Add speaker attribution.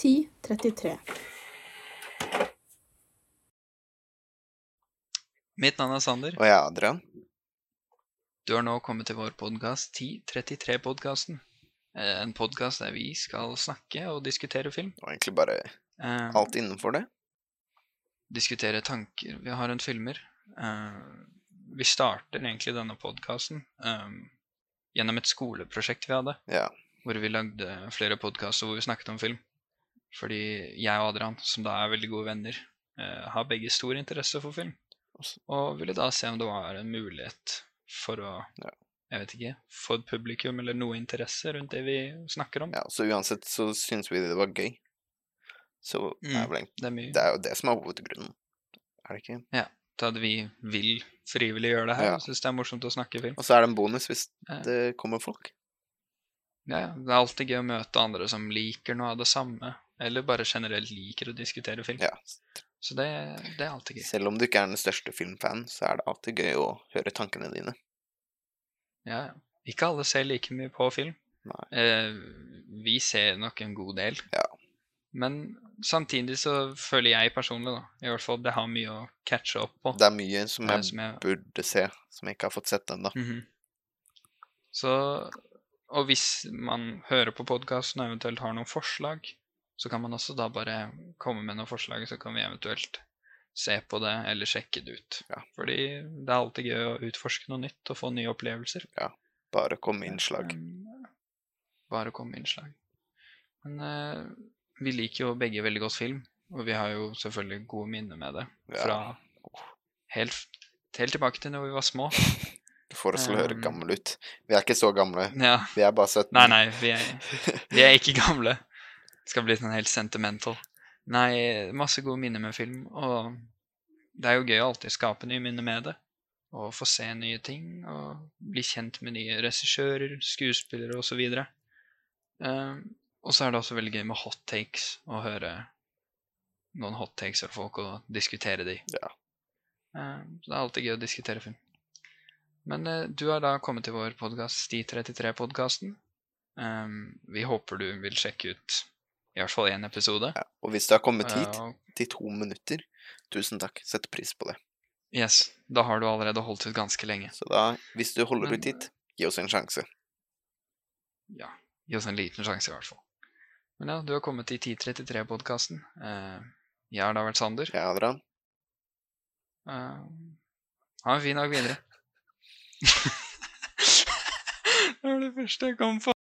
Speaker 1: ti trettitre.
Speaker 2: Mitt navn er Sander.
Speaker 3: Og jeg er Adrian.
Speaker 2: Du har nå kommet til vår podkast 1033-podkasten. Eh, En podkast der vi skal snakke og diskutere film.
Speaker 3: Og egentlig bare
Speaker 2: Eh,
Speaker 3: alt innenfor det.
Speaker 2: Diskutere tanker. Vi har en filmer. Eh, vi starter egentlig denne podkasten gjennom et skoleprosjekt vi hadde.
Speaker 3: Ja.
Speaker 2: Hvor vi lagde flere podkaster hvor vi snakket om film. Fordi jeg og Adrian, som da er veldig gode venner, eh, har begge stor interesse for film.
Speaker 3: Også-
Speaker 2: Og ville da se om det var en mulighet for å
Speaker 3: Ja.
Speaker 2: Jeg vet ikke. For publikum eller noe interesse rundt det vi snakker om.
Speaker 3: ja. Så uansett så syns vi det var gøy. Så er
Speaker 2: Mm.
Speaker 3: vel egentlig,
Speaker 2: Det er mye.
Speaker 3: det er jo det som er hovedgrunnen. Er det ikke?
Speaker 2: til at vi vil frivillig gjøre det her.
Speaker 3: Ja.
Speaker 2: og Syns det er morsomt å snakke film.
Speaker 3: Og så er det en bonus hvis
Speaker 2: Ja.
Speaker 3: det kommer folk.
Speaker 2: Ja, ja. Det er alltid gøy å møte andre som liker noe av det samme, eller bare generelt liker å diskutere film.
Speaker 3: Ja.
Speaker 2: Så det, det er alltid gøy.
Speaker 3: Selv om du ikke er den største filmfan, så er det alltid gøy å høre tankene dine.
Speaker 2: Ja, ja. Ikke alle ser like mye på film.
Speaker 3: Nei.
Speaker 2: Eh, vi ser nok en god del.
Speaker 3: Ja.
Speaker 2: Men samtidig så føler jeg personlig, da, i hvert fall det har mye å catche opp på.
Speaker 3: Det er mye som
Speaker 2: eh,
Speaker 3: jeg
Speaker 2: som jeg
Speaker 3: burde se, som jeg ikke har fått sett ennå.
Speaker 2: Mhm. Så Og hvis man hører på podkasten og eventuelt har noen forslag, så kan man også da bare komme med noen forslag, så kan vi eventuelt se på det eller sjekke det ut.
Speaker 3: Ja.
Speaker 2: Fordi det er alltid gøy å utforske noe nytt og få nye opplevelser.
Speaker 3: Bare kom med innslag.
Speaker 2: Um, Bare kom med innslag. Men eh, vi liker jo begge veldig godt film, og vi har jo selvfølgelig gode minner med det.
Speaker 3: Ja.
Speaker 2: Fra helt, helt tilbake til når vi var små.
Speaker 3: Du får oss til å høre
Speaker 2: Um,
Speaker 3: gamle ut. Vi er ikke så gamle.
Speaker 2: Ja.
Speaker 3: Vi er bare 17.
Speaker 2: Nei, nei, vi er, vi er ikke gamle. Det skal bli sånn helt sentimental. Nei, masse gode minner med film, og det er jo gøy å alltid skape nye minner med det. Og få se nye ting, og bli kjent med nye regissører, skuespillere osv. Um, og så er det også veldig gøy med hot takes, å høre noen hot takes fra folk og diskutere de.
Speaker 3: Ja.
Speaker 2: Um, så det er alltid gøy å diskutere film. Men eh, du har da kommet til vår podkast, Sti33-podkasten. Um, vi håper du vil sjekke ut i hvert fall én episode.
Speaker 3: Ja. Og hvis du har kommet
Speaker 2: Eh,
Speaker 3: hit
Speaker 2: og-
Speaker 3: til to minutter, tusen takk. Setter pris på det.
Speaker 2: yes, da har du allerede holdt ut ganske lenge.
Speaker 3: Så da, hvis du holder
Speaker 2: Men-
Speaker 3: ut hit, gi oss en sjanse.
Speaker 2: Ja, Gi oss en liten sjanse, i hvert fall. Men ja, du har kommet til 1033-podkasten. Eh, jeg har da vært Sander.
Speaker 3: Jeg er Adrian.
Speaker 2: Eh, ha en fin dag videre. det var det første jeg kom på.